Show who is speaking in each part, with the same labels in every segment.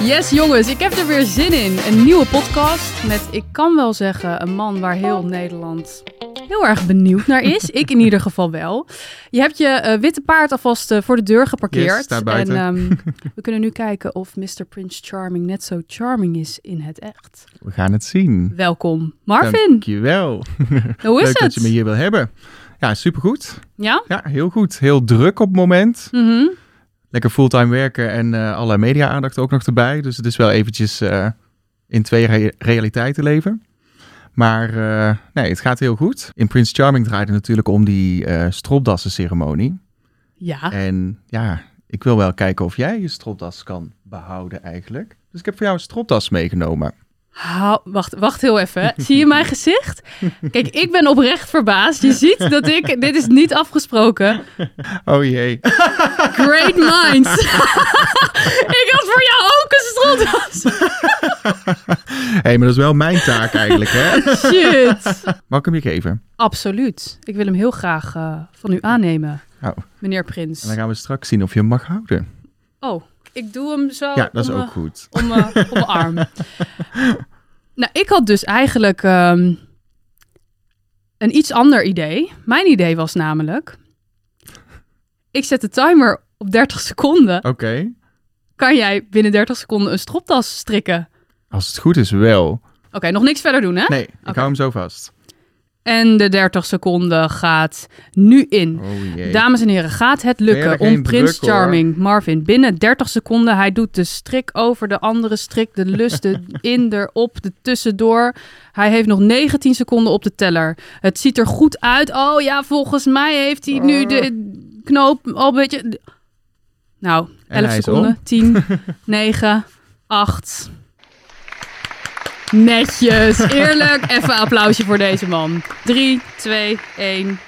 Speaker 1: Yes, jongens, ik heb er weer zin in. Een nieuwe podcast met, ik kan wel zeggen, een man waar heel Nederland heel erg benieuwd naar is. ik in ieder geval wel. Je hebt je eh, witte paard alvast eh, voor de deur geparkeerd.
Speaker 2: Yes, daar buiten.
Speaker 1: En ehm, we kunnen nu kijken of Mr. Prince Charming net zo charming is in het echt.
Speaker 2: We gaan het zien.
Speaker 1: Welkom, Marvin.
Speaker 2: Dankjewel.
Speaker 1: Hoe is
Speaker 2: Leuk dat
Speaker 1: het?
Speaker 2: je me hier wil hebben. Ja, supergoed.
Speaker 1: Ja?
Speaker 2: Ja, heel goed. Heel druk op het moment.
Speaker 1: Mhm.
Speaker 2: Lekker fulltime werken en eh allerlei media-aandacht ook nog erbij. Dus het is wel eventjes eh, in twee re- realiteiten leven. Maar eh, nee, het gaat heel goed. In Prince Charming draait het natuurlijk om die eh stropdassenceremonie.
Speaker 1: Ja.
Speaker 2: En ja, ik wil wel kijken of jij je stropdas kan behouden eigenlijk. Dus ik heb voor jou een stropdas meegenomen.
Speaker 1: Hou- wacht, wacht heel even. Zie je mijn gezicht? Kijk, ik ben oprecht verbaasd. Je ziet dat ik... Dit is niet afgesproken.
Speaker 2: Oh jee.
Speaker 1: Great minds. ik had voor jou ook een stropdas.
Speaker 2: Hé, hey, maar dat is wel mijn taak eigenlijk, hè?
Speaker 1: Oh, Shit.
Speaker 2: Mag ik hem je geven?
Speaker 1: Absoluut. Ik wil hem heel graag eh, van u aannemen,
Speaker 2: Nou,
Speaker 1: meneer
Speaker 2: en dan
Speaker 1: Prins.
Speaker 2: gaan we straks zien of je hem mag houden.
Speaker 1: Oh, ik doe hem zo
Speaker 2: ja, dat is
Speaker 1: om,
Speaker 2: ook
Speaker 1: eh,
Speaker 2: goed.
Speaker 1: om, eh, om mijn arm. nou, ik had dus eigenlijk ehm, een iets ander idee. Mijn idee was namelijk... Ik zet de timer op 30 seconden.
Speaker 2: Oké.
Speaker 1: Kan jij binnen 30 seconden een stropdas strikken?
Speaker 2: Als het goed is, wel.
Speaker 1: Oké, nog niks verder doen, hè?
Speaker 2: Nee, ik
Speaker 1: Ah, Oké.
Speaker 2: hou hem zo vast.
Speaker 1: En de 30 seconden gaat nu in.
Speaker 2: Oh jee.
Speaker 1: Dames en heren, gaat het
Speaker 2: Heel
Speaker 1: lukken
Speaker 2: geen
Speaker 1: om Prins
Speaker 2: druk, hoor.
Speaker 1: Charming Marvin binnen 30 seconden? Hij doet de strik over, de andere strik, de lust, de in, erop, de tussendoor. Hij heeft nog 19 seconden op de teller. Het ziet er goed uit. Oh ja, volgens mij heeft hij
Speaker 2: Oh.
Speaker 1: nu de knoop al een beetje. Nou,
Speaker 2: En
Speaker 1: 11
Speaker 2: hij is
Speaker 1: seconden,
Speaker 2: om.
Speaker 1: 10, 9, 8. Netjes, eerlijk. Even een applausje voor deze man. 3, 2, 1.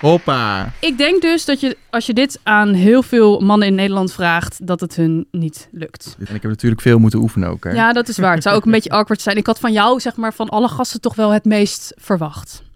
Speaker 2: Hoppa.
Speaker 1: Ik denk dus dat je, als je dit aan heel veel mannen in Nederland vraagt, dat het hun niet lukt.
Speaker 2: En ik heb natuurlijk veel moeten oefenen ook, hè?
Speaker 1: Ja, dat is waar. Het zou ook een beetje awkward zijn. Ik had van jou, zeg maar, van alle gasten toch wel het meest verwacht.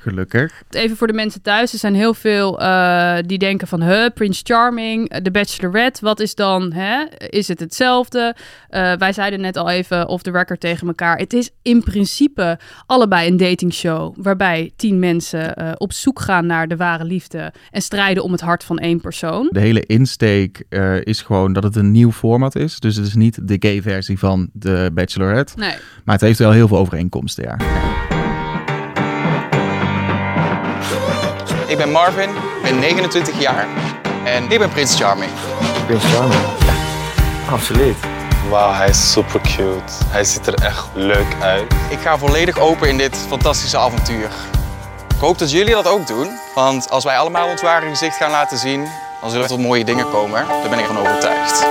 Speaker 2: Gelukkig.
Speaker 1: Even voor de mensen thuis. Er zijn heel veel eh, die denken van... Huh, Prince Charming, eh, The Bachelorette, wat is dan? Hè? Is het hetzelfde? Eh, wij zeiden net al even off the record tegen elkaar. Het is in principe allebei een datingshow... waarbij tien mensen eh, op zoek gaan naar de ware liefde... en strijden om het hart van één persoon.
Speaker 2: De hele insteek eh, is gewoon dat het een nieuw format is. Dus het is niet de gay versie van de Bachelorette.
Speaker 1: Nee.
Speaker 2: Maar het heeft wel heel veel overeenkomsten, ja.
Speaker 3: Ik ben Marvin, ben 29 jaar en ik ben Prins Charming.
Speaker 4: Prins Charming. Absoluut.
Speaker 5: Wauw, hij is super cute. Hij ziet er echt leuk uit.
Speaker 3: Ik ga volledig open in dit fantastische avontuur. Ik hoop dat jullie dat ook doen, want als wij allemaal ons ware gezicht gaan laten zien, dan zullen er tot mooie dingen komen. Daar ben ik van overtuigd.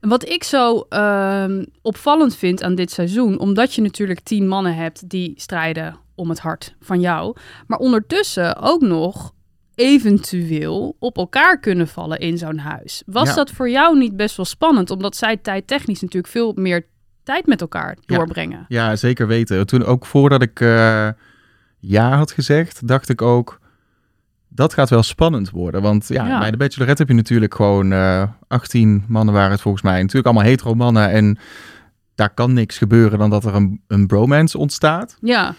Speaker 1: Wat ik zo ehm, opvallend vind aan dit seizoen, omdat je natuurlijk tien mannen hebt die strijden om het hart van jou, maar ondertussen ook nog eventueel op elkaar kunnen vallen in zo'n huis. Was
Speaker 2: Ja.
Speaker 1: dat voor jou niet best wel spannend, omdat zij tijdtechnisch natuurlijk veel meer tijd met elkaar
Speaker 2: Ja.
Speaker 1: doorbrengen?
Speaker 2: Ja, zeker weten. Toen ook voordat ik eh, ja had gezegd, dacht ik ook, dat gaat wel spannend worden. Want ja,
Speaker 1: Ja.
Speaker 2: bij de Bachelorette heb je natuurlijk gewoon eh 18 mannen waren het volgens mij. Natuurlijk allemaal hetero mannen en daar kan niks gebeuren dan dat er een, een bromance ontstaat.
Speaker 1: Ja,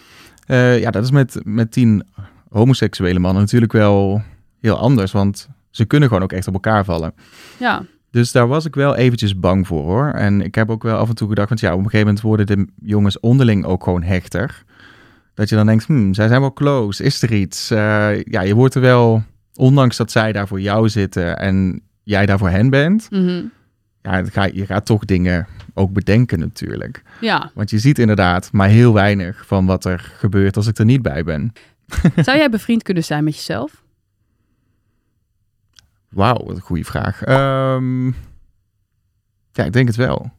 Speaker 2: Eh, ja, dat is met, met tien homoseksuele mannen natuurlijk wel heel anders, want ze kunnen gewoon ook echt op elkaar vallen.
Speaker 1: ja.
Speaker 2: Dus daar was ik wel eventjes bang voor hoor. En ik heb ook wel af en toe gedacht, want ja, op een gegeven moment worden de jongens onderling ook gewoon hechter. Dat je dan denkt, hmm, zij zijn wel close, is er iets? Eh, ja, je wordt er wel, ondanks dat zij daar voor jou zitten en jij daar voor hen bent.
Speaker 1: mhm.
Speaker 2: Ja, het ga, je gaat toch dingen ook bedenken natuurlijk.
Speaker 1: ja.
Speaker 2: Want je ziet inderdaad maar heel weinig van wat er gebeurt als ik er niet bij ben.
Speaker 1: Zou jij bevriend kunnen zijn met jezelf?
Speaker 2: Wauw, wat een goede vraag. Ehm, ja, ik denk het wel.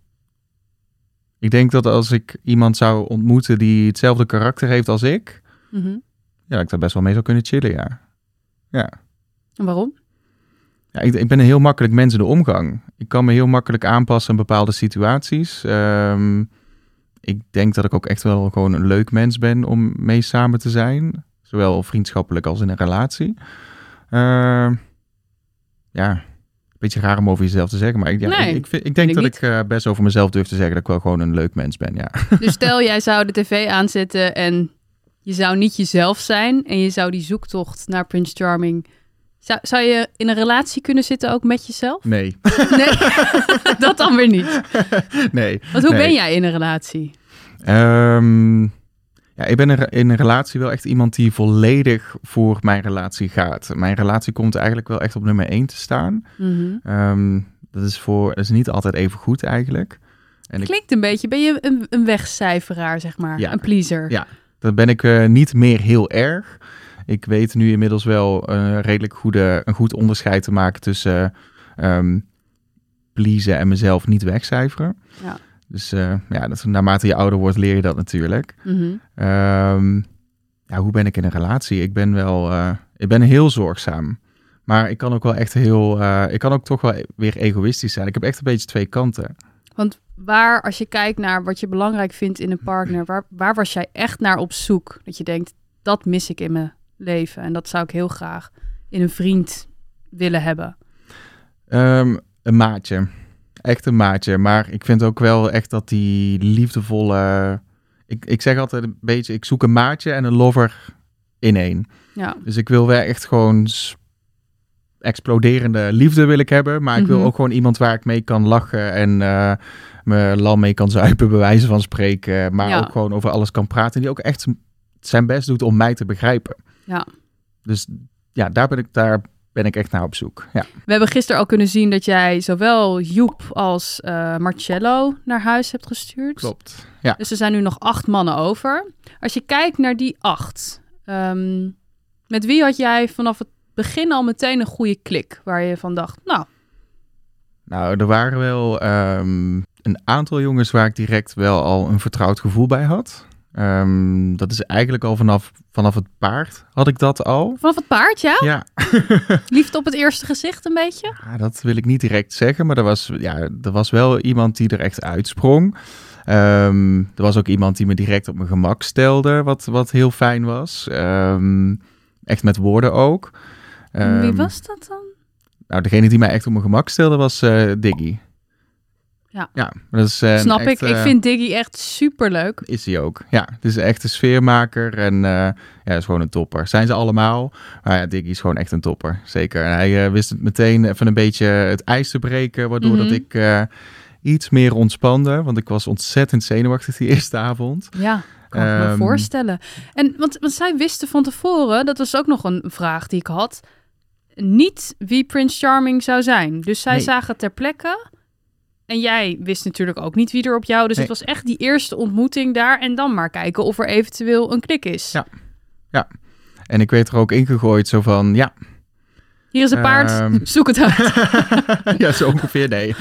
Speaker 2: Ik denk dat als ik iemand zou ontmoeten die hetzelfde karakter heeft als ik,
Speaker 1: Mhm.
Speaker 2: ja, dat ik daar best wel mee zou kunnen chillen, ja. Ja,
Speaker 1: En waarom?
Speaker 2: ja ik, ik ben een heel makkelijk mens in de omgang. Ik kan me heel makkelijk aanpassen aan bepaalde situaties. Ehm, ik denk dat ik ook echt wel gewoon een leuk mens ben om mee samen te zijn. Zowel vriendschappelijk als in een relatie. Ehm, ja, Beetje raar om over jezelf te zeggen, maar ik, ja,
Speaker 1: Nee,
Speaker 2: ik, ik, vind- ik denk
Speaker 1: ik
Speaker 2: dat
Speaker 1: niet.
Speaker 2: ik eh, best over mezelf durf te zeggen dat ik wel gewoon een leuk mens ben. Ja.
Speaker 1: Dus stel, jij zou de tv aanzetten en je zou niet jezelf zijn en je zou die zoektocht naar Prince Charming. Zou, zou je in een relatie kunnen zitten ook met jezelf?
Speaker 2: Nee,
Speaker 1: Nee, dat dan weer niet.
Speaker 2: nee.
Speaker 1: Want hoe
Speaker 2: Nee.
Speaker 1: ben jij in een relatie?
Speaker 2: Ehm, ja, ik ben er in een relatie wel echt iemand die volledig voor mijn relatie gaat. Mijn relatie komt eigenlijk wel echt op nummer 1 te staan.
Speaker 1: Mhm.
Speaker 2: Ehm, dat, is voor, dat is niet altijd even goed eigenlijk. En ik,
Speaker 1: Klinkt een beetje, ben je een, een wegcijferaar, zeg maar?
Speaker 2: Ja.
Speaker 1: Een pleaser?
Speaker 2: Ja. dat ben ik eh, niet meer heel erg. Ik weet nu inmiddels wel een redelijk goede, een goed onderscheid te maken tussen ehm pleasen en mezelf niet wegcijferen.
Speaker 1: Ja.
Speaker 2: Dus eh, ja, dat, naarmate je ouder wordt leer je dat natuurlijk.
Speaker 1: Mhm.
Speaker 2: Ehm, ja, hoe ben ik in een relatie? Ik ben wel, eh, ik ben heel zorgzaam. Maar ik kan ook wel echt heel, eh, ik kan ook toch wel e- weer egoïstisch zijn. Ik heb echt een beetje twee kanten.
Speaker 1: Want waar, als je kijkt naar wat je belangrijk vindt in een partner, waar, waar was jij echt naar op zoek? Dat je denkt, dat mis ik in mijn leven en dat zou ik heel graag in een vriend willen hebben.
Speaker 2: Ehm, een maatje. Echt een maatje. Maar ik vind ook wel echt dat die liefdevolle... Ik, ik zeg altijd een beetje, ik zoek een maatje en een lover in één.
Speaker 1: Ja.
Speaker 2: Dus ik wil wel echt gewoon s- exploderende liefde wil ik hebben. Maar ik
Speaker 1: Mhm.
Speaker 2: wil ook gewoon iemand waar ik mee kan lachen en eh, me lam mee kan zuipen, bij wijze van spreken. Maar
Speaker 1: Ja.
Speaker 2: ook gewoon over alles kan praten. En die ook echt zijn best doet om mij te begrijpen.
Speaker 1: Ja.
Speaker 2: Dus ja, daar ben ik, daar ben ik echt naar op zoek. Ja.
Speaker 1: We hebben gisteren al kunnen zien dat jij zowel Joep als eh, Marcello naar huis hebt gestuurd.
Speaker 2: Klopt. Ja.
Speaker 1: Dus er zijn nu nog acht mannen over. Als je kijkt naar die acht, ehm, met wie had jij vanaf het begin al meteen een goede klik? Waar je van dacht, nou,
Speaker 2: Nou, er waren wel ehm, een aantal jongens waar ik direct wel al een vertrouwd gevoel bij had. Ehm, dat is eigenlijk al vanaf, vanaf het paard had ik dat al.
Speaker 1: vanaf het paard, ja?
Speaker 2: Ja,
Speaker 1: Liefde op het eerste gezicht een beetje?
Speaker 2: Ja, Ah, dat wil ik niet direct zeggen, maar er was, ja, er was wel iemand die er echt uitsprong. Ehm, er was ook iemand die me direct op mijn gemak stelde, wat, wat heel fijn was. Ehm, echt met woorden ook.
Speaker 1: En Wie
Speaker 2: Ehm,
Speaker 1: was dat dan?
Speaker 2: Nou, degene die mij echt op mijn gemak stelde was eh, Diggy.
Speaker 1: Ja.
Speaker 2: ja dat is, eh, een
Speaker 1: Snap
Speaker 2: echt,
Speaker 1: ik. Ik
Speaker 2: eh,
Speaker 1: vind Diggy echt superleuk.
Speaker 2: Is hij ook. Ja, het is echt een sfeermaker en eh, ja, is gewoon een topper. Zijn ze allemaal. Maar ja, Diggy is gewoon echt een topper. Zeker. En hij eh, wist het meteen even een beetje het ijs te breken, waardoor
Speaker 1: Mhm.
Speaker 2: dat ik eh, iets meer ontspande. Want ik was ontzettend zenuwachtig die eerste avond.
Speaker 1: Ja, kan ik me
Speaker 2: Ehm,
Speaker 1: voorstellen. En want, want zij wisten van tevoren, dat was ook nog een vraag die ik had, niet wie Prince Charming zou zijn. Dus zij
Speaker 2: Nee.
Speaker 1: zagen ter plekke. En jij wist natuurlijk ook niet wie er op jou. Dus het
Speaker 2: Nee.
Speaker 1: was echt die eerste ontmoeting daar. En dan maar kijken of er eventueel een klik is.
Speaker 2: Ja. En ik werd er ook ingegooid zo van, ja,
Speaker 1: Hier is een paard,
Speaker 2: Ehm.
Speaker 1: zoek het uit.
Speaker 2: ja, zo ongeveer nee.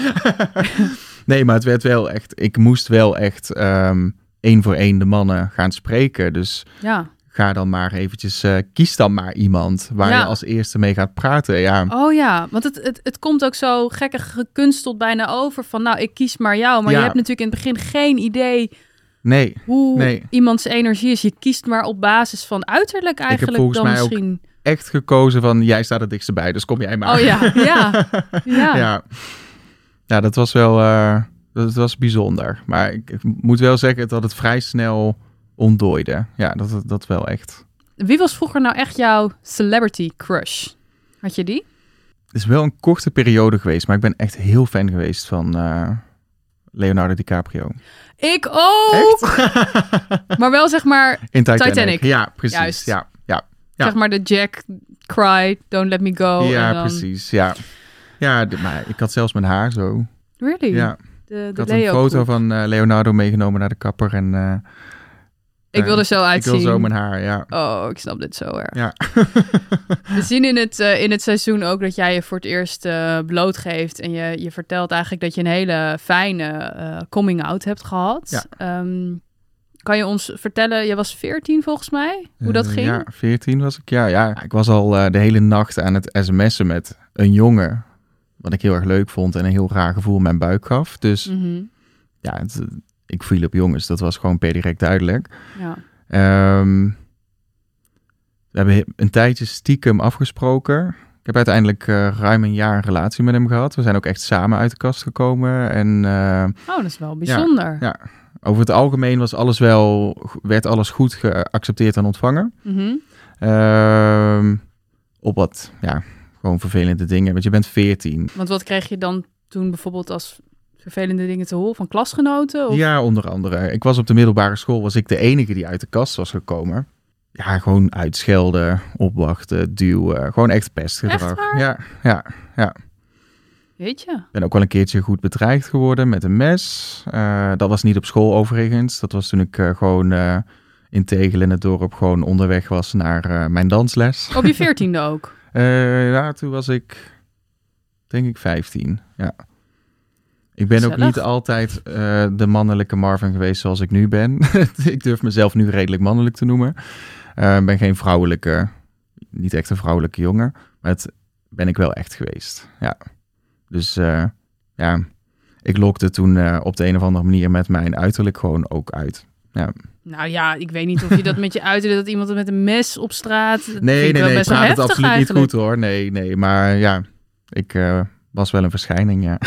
Speaker 2: nee, maar het werd wel echt, ik moest wel echt ehm, één voor één de mannen gaan spreken. Dus
Speaker 1: ja.
Speaker 2: ga dan maar eventjes, eh, kies dan maar iemand waar
Speaker 1: Ja.
Speaker 2: je als eerste mee gaat praten. Ja,
Speaker 1: Oh ja, want het, het, het komt ook zo gekkig gekunsteld bijna over. Van nou, ik kies maar jou. Maar
Speaker 2: Ja.
Speaker 1: je hebt natuurlijk in het begin geen idee
Speaker 2: nee.
Speaker 1: hoe
Speaker 2: Nee.
Speaker 1: iemands energie is. Je kiest maar op basis van uiterlijk eigenlijk
Speaker 2: volgens
Speaker 1: dan
Speaker 2: mij ook-
Speaker 1: misschien.
Speaker 2: Echt gekozen van, jij staat het dichtst bij, dus kom jij maar.
Speaker 1: Oh ja, ja, ja.
Speaker 2: ja. Ja, dat was wel, eh, dat was bijzonder. Maar ik, ik moet wel zeggen dat het vrij snel ontdooide. Ja, dat, dat wel echt.
Speaker 1: Wie was vroeger nou echt jouw celebrity crush? Had je die?
Speaker 2: Het is wel een korte periode geweest, maar ik ben echt heel fan geweest van eh, Leonardo DiCaprio.
Speaker 1: Ik ook! Maar wel zeg maar,
Speaker 2: In Titanic.
Speaker 1: Titanic.
Speaker 2: Ja, precies.
Speaker 1: Juist.
Speaker 2: Ja, ja. Ja.
Speaker 1: zeg maar de Jack cry, don't let me go.
Speaker 2: ja
Speaker 1: Oh, en dan-
Speaker 2: precies. Ja, ja d- maar ik had zelfs mijn haar zo.
Speaker 1: Really?
Speaker 2: Ja,
Speaker 1: De,
Speaker 2: ik
Speaker 1: de
Speaker 2: had een
Speaker 1: Leo
Speaker 2: foto
Speaker 1: crew.
Speaker 2: van eh, Leonardo meegenomen naar de kapper. En eh,
Speaker 1: Ik wil er zo
Speaker 2: ik
Speaker 1: uitzien.
Speaker 2: wil zo mijn haar, ja.
Speaker 1: Oh, ik snap dit zo erg.
Speaker 2: Ja.
Speaker 1: We zien in het, eh, in het seizoen ook dat jij je voor het eerst eh, blootgeeft. En je, je vertelt eigenlijk dat je een hele fijne eh, coming-out hebt gehad.
Speaker 2: Ja.
Speaker 1: Ehm, kan je ons vertellen, jij was 14 volgens mij, hoe dat
Speaker 2: Eh,
Speaker 1: ging?
Speaker 2: Ja, 14 was ik. Ja, ja. ik was al eh, de hele nacht aan het sms'en met een jongen. Wat ik heel erg leuk vond en een heel raar gevoel in mijn buik gaf. Dus
Speaker 1: Mhm,
Speaker 2: ja, het- ik viel op jongens. Dat was gewoon per direct duidelijk.
Speaker 1: ja.
Speaker 2: Ehm, we hebben he- een tijdje stiekem afgesproken. Ik heb uiteindelijk eh, ruim een jaar een relatie met hem gehad. We zijn ook echt samen uit de kast gekomen. En eh,
Speaker 1: Oh, dat is wel bijzonder.
Speaker 2: ja. over het algemeen was alles wel, werd alles goed geaccepteerd en ontvangen.
Speaker 1: Mhm.
Speaker 2: Ehm, op wat, ja, gewoon vervelende dingen. Want je bent 14.
Speaker 1: Want wat kreeg je dan toen bijvoorbeeld als vervelende dingen te horen van klasgenoten? Of...
Speaker 2: Ja, onder andere. Ik was op de middelbare school, was ik de enige die uit de kast was gekomen. Ja, gewoon uitschelden, opwachten, duwen. Gewoon echt pestgedrag.
Speaker 1: Echt waar?
Speaker 2: Ja, ja.
Speaker 1: Weet je?
Speaker 2: Ik ben ook wel een keertje goed bedreigd geworden met een mes. Eh, dat was niet op school overigens. Dat was toen ik eh, gewoon eh, in Tegel in het dorp gewoon onderweg was naar eh, mijn dansles.
Speaker 1: Op je veertiende ook.
Speaker 2: Eh, ja, toen was ik, denk ik, 15. Ja. Ik ben ook
Speaker 1: Gezellig.
Speaker 2: niet altijd eh, de mannelijke Marvin geweest zoals ik nu ben. ik durf mezelf nu redelijk mannelijk te noemen. Eh, Ik ben geen vrouwelijke, niet echt een vrouwelijke jongen. Maar het ben ik wel echt geweest. Ja. Dus eh, ja, ik lokte toen eh, op de een of andere manier met mijn uiterlijk gewoon ook uit.
Speaker 1: Nou ja, ik weet niet of je dat met je uiterlijk dat iemand met een mes op straat. dat vind
Speaker 2: Nee,
Speaker 1: ik
Speaker 2: nee,
Speaker 1: wel
Speaker 2: nee, ik
Speaker 1: best wel
Speaker 2: praat het
Speaker 1: heftig
Speaker 2: absoluut niet
Speaker 1: eigenlijk.
Speaker 2: goed hoor. Nee, nee, maar ja, ik eh, was wel een verschijning, ja.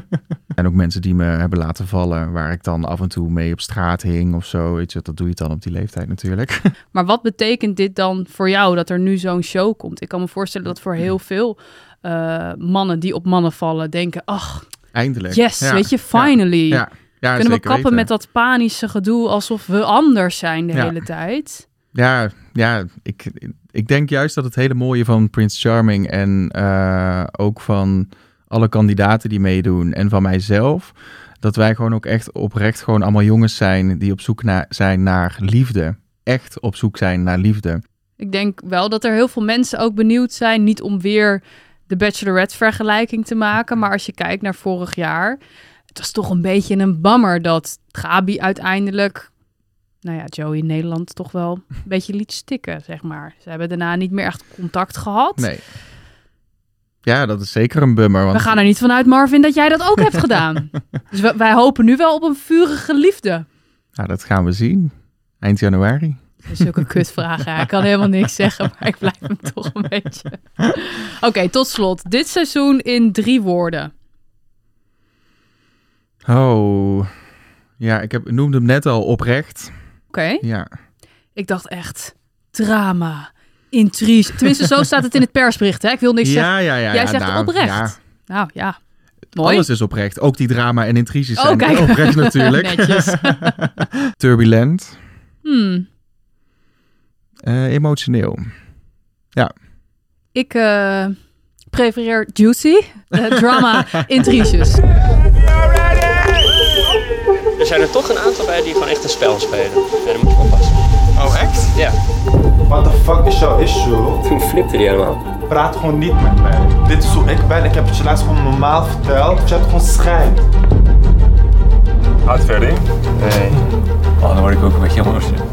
Speaker 2: en ook mensen die me hebben laten vallen, waar ik dan af en toe mee op straat hing of zo. Weet je, dat doe je dan op die leeftijd natuurlijk.
Speaker 1: Maar wat betekent dit dan voor jou dat er nu zo'n show komt? Ik kan me voorstellen dat voor heel veel eh, mannen die op mannen vallen denken: ach,
Speaker 2: Eindelijk.
Speaker 1: yes,
Speaker 2: Ja,
Speaker 1: weet je,
Speaker 2: ja,
Speaker 1: finally.
Speaker 2: Ja, ja,
Speaker 1: Kunnen we
Speaker 2: zeker
Speaker 1: kappen
Speaker 2: weten.
Speaker 1: met dat panische gedoe alsof we anders zijn de
Speaker 2: Ja.
Speaker 1: hele tijd?
Speaker 2: Ja, ja ik, ik denk juist dat het hele mooie van Prince Charming en eh, ook van alle kandidaten die meedoen en van mijzelf, dat wij gewoon ook echt oprecht gewoon allemaal jongens zijn die op zoek na- zijn naar liefde. Echt op zoek zijn naar liefde.
Speaker 1: Ik denk wel dat er heel veel mensen ook benieuwd zijn. Niet om weer de Bachelorette-vergelijking te maken. Maar als je kijkt naar vorig jaar. Het was toch een beetje een bammer dat Gabi uiteindelijk. Nou ja, Joey in Nederland toch wel een beetje liet stikken, zeg maar. Ze hebben daarna niet meer echt contact gehad.
Speaker 2: Nee. Ja, dat is zeker een bummer. Want
Speaker 1: We gaan er niet vanuit, Marvin, dat jij dat ook hebt gedaan. Dus we- wij hopen nu wel op een vurige liefde.
Speaker 2: nou, dat gaan we zien. Eind januari.
Speaker 1: Zulke kutvragen. Ja, Ik kan helemaal niks zeggen, maar ik blijf hem toch een beetje. Oké, tot slot. Dit seizoen in drie woorden.
Speaker 2: Oh. Ja, ik heb, noemde hem net al oprecht.
Speaker 1: Oké.
Speaker 2: Ja.
Speaker 1: Ik dacht echt drama, intrige. Tenminste, zo staat het in het persbericht. Hè? Ik wil niks zeggen.
Speaker 2: ja, ja, ja.
Speaker 1: Jij
Speaker 2: ja,
Speaker 1: zegt
Speaker 2: nou,
Speaker 1: oprecht.
Speaker 2: ja.
Speaker 1: Nou ja, mooi.
Speaker 2: Alles is oprecht. Ook die drama en intriges
Speaker 1: Oh,
Speaker 2: zijn
Speaker 1: kijk.
Speaker 2: oprecht natuurlijk.
Speaker 1: Netjes.
Speaker 2: Turbulent.
Speaker 1: Hmm.
Speaker 2: Eh, emotioneel.
Speaker 1: Ik eh, prefereer juicy, eh, drama, intriges.
Speaker 6: Er zijn er toch een aantal bij die gewoon echt een spel spelen. Ja, daar moet je oppassen.
Speaker 3: Oh, echt?
Speaker 6: Ja.
Speaker 4: What the fuck is jouw issue?
Speaker 6: Toen flipte die helemaal.
Speaker 4: Praat gewoon niet met mij. Dit is hoe ik ben. Ik heb het je laatst gewoon normaal verteld. Je hebt gewoon schijn.
Speaker 5: Hard verder? Nee. Oh, dan word ik ook een beetje emotioneel.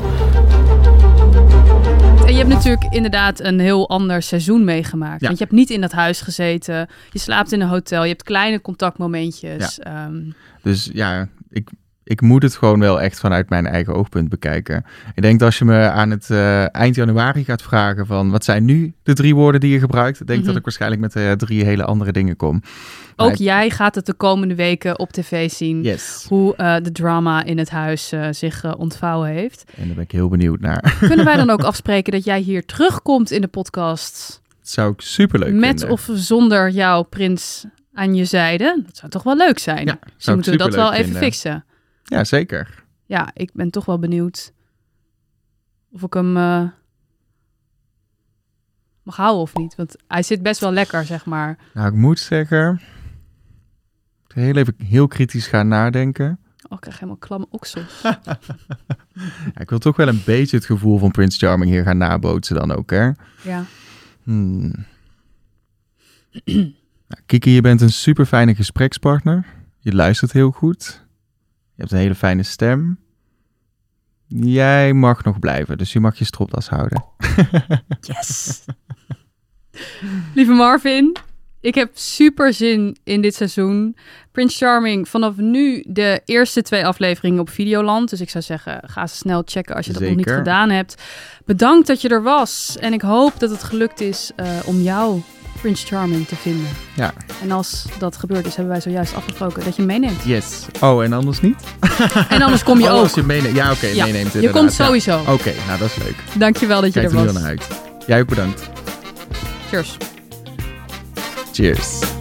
Speaker 1: En je hebt natuurlijk inderdaad een heel ander seizoen meegemaakt.
Speaker 2: Ja.
Speaker 1: Want je hebt niet in dat huis gezeten. Je slaapt in een hotel. Je hebt kleine contactmomentjes. Ehm,
Speaker 2: Dus ja, ik, ik moet het gewoon wel echt vanuit mijn eigen oogpunt bekijken. Ik denk dat als je me aan het eh, eind januari gaat vragen van... wat zijn nu de drie woorden die je gebruikt? Ik denk
Speaker 1: Mhm.
Speaker 2: dat ik waarschijnlijk met eh, drie hele andere dingen kom.
Speaker 1: ook
Speaker 2: ik-
Speaker 1: jij gaat het de komende weken op tv zien.
Speaker 2: Yes.
Speaker 1: Hoe eh, de drama in het huis eh, zich eh, ontvouwen heeft.
Speaker 2: En daar ben ik heel benieuwd naar.
Speaker 1: Kunnen wij dan ook afspreken dat jij hier terugkomt in de podcast?
Speaker 2: Dat zou ik superleuk
Speaker 1: met
Speaker 2: vinden.
Speaker 1: of zonder jouw prins aan je zijde? Dat zou toch wel leuk zijn?
Speaker 2: Ja,
Speaker 1: Misschien
Speaker 2: zou ik
Speaker 1: moeten we dat wel
Speaker 2: superleuk
Speaker 1: even
Speaker 2: vinden.
Speaker 1: fixen.
Speaker 2: Ja, zeker.
Speaker 1: Ja, ik ben toch wel benieuwd of ik hem eh, mag houden of niet. Want hij zit best wel lekker, zeg maar.
Speaker 2: Nou, ik moet zeggen... ik Heel even heel kritisch gaan nadenken.
Speaker 1: Oh, ik krijg helemaal klamme oksels.
Speaker 2: Ja, ik wil toch wel een beetje het gevoel van Prince Charming hier gaan nabootsen dan ook, hè?
Speaker 1: ja.
Speaker 2: Hmm. Nou, Kiki, je bent een super fijne gesprekspartner. Je luistert heel goed. Je hebt een hele fijne stem. Jij mag nog blijven, dus je mag je stropdas houden.
Speaker 1: Yes! Lieve Marvin, ik heb super zin in dit seizoen. Prince Charming, vanaf nu de eerste twee afleveringen op Videoland. Dus ik zou zeggen, ga ze snel checken als je dat nog niet
Speaker 2: Zeker.
Speaker 1: gedaan hebt. Bedankt dat je er was. En ik hoop dat het gelukt is eh, om jou Prince Charming te vinden.
Speaker 2: Ja.
Speaker 1: En als dat gebeurd is, hebben wij zojuist afgesproken dat je hem meeneemt.
Speaker 2: Yes. Oh, en anders niet?
Speaker 1: En anders kom je
Speaker 2: oh,
Speaker 1: ook.
Speaker 2: als je meeneemt. Ja, oké,
Speaker 1: Ja,
Speaker 2: meeneemt
Speaker 1: je
Speaker 2: inderdaad.
Speaker 1: komt
Speaker 2: Ja.
Speaker 1: sowieso.
Speaker 2: Oké, nou dat is leuk.
Speaker 1: Dankjewel dat je
Speaker 2: Kijk
Speaker 1: er
Speaker 2: er wel
Speaker 1: was.
Speaker 2: naar uit. Jij ook bedankt.
Speaker 1: Cheers.
Speaker 2: Cheers.